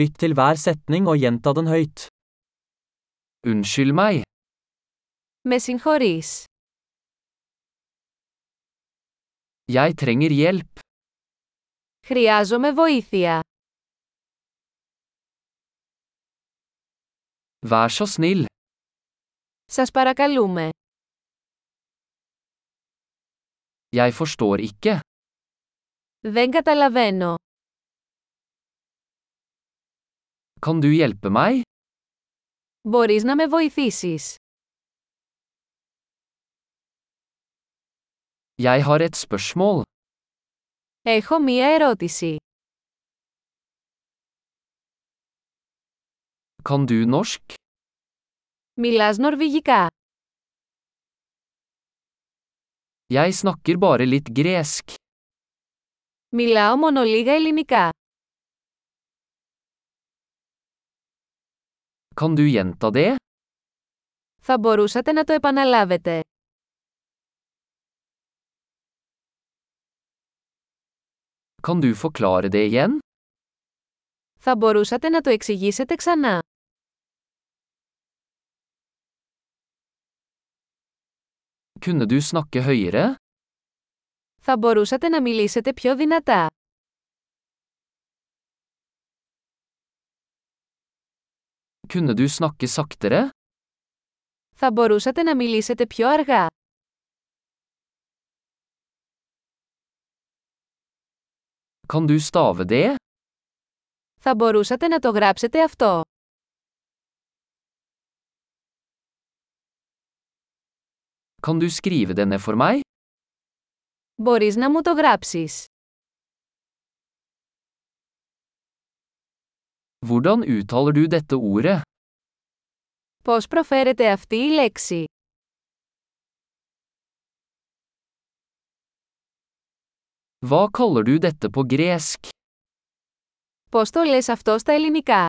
Lytt til hver setning og gjenta den høyt. Unnskyld meg, Με συγχωρείς. jeg trenger hjelp. Χρειάζομαι βοήθεια. Vær så snill, Σας παρακαλούμε. jeg forstår ikke. Δεν καταλαβαίνω. Kan du hjelpe meg? Μπορείς να με βοηθήσεις. Jeg har et spørsmål. Έχω μία ερώτηση. Kan du norsk? Μιλάς νορβηγικά. Jeg snakker bare litt gresk. Μιλάω μόνο λίγα ελληνικά. Kan du gjenta det? Θα μπορούσατε να το επαναλάβετε. Kan du forklare det igjen? Θα μπορούσατε να το εξηγήσετε ξανά. Kunne du snakke høyere? Θα μπορούσατε να μιλήσετε πιο δυνατά. Kunne du snakke saktere? Θα μπορούσατε να μιλήσετε πιο αργά. Kan du stave det? Θα μπορούσατε να το γράψετε αυτό. Kan du skrive det ned for meg? Μπορείς να μου το γράψεις. Hvordan uttaler du dette ordet? Πώς προφέρεται αυτή η λέξη. Hva kaller du dette på gresk? Πώς το λες αυτό στα ελληνικά.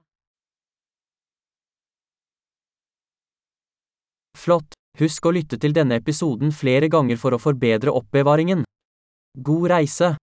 Flott! Husk å lytte til denne episoden flere ganger for å forbedre oppbevaringen. God reise!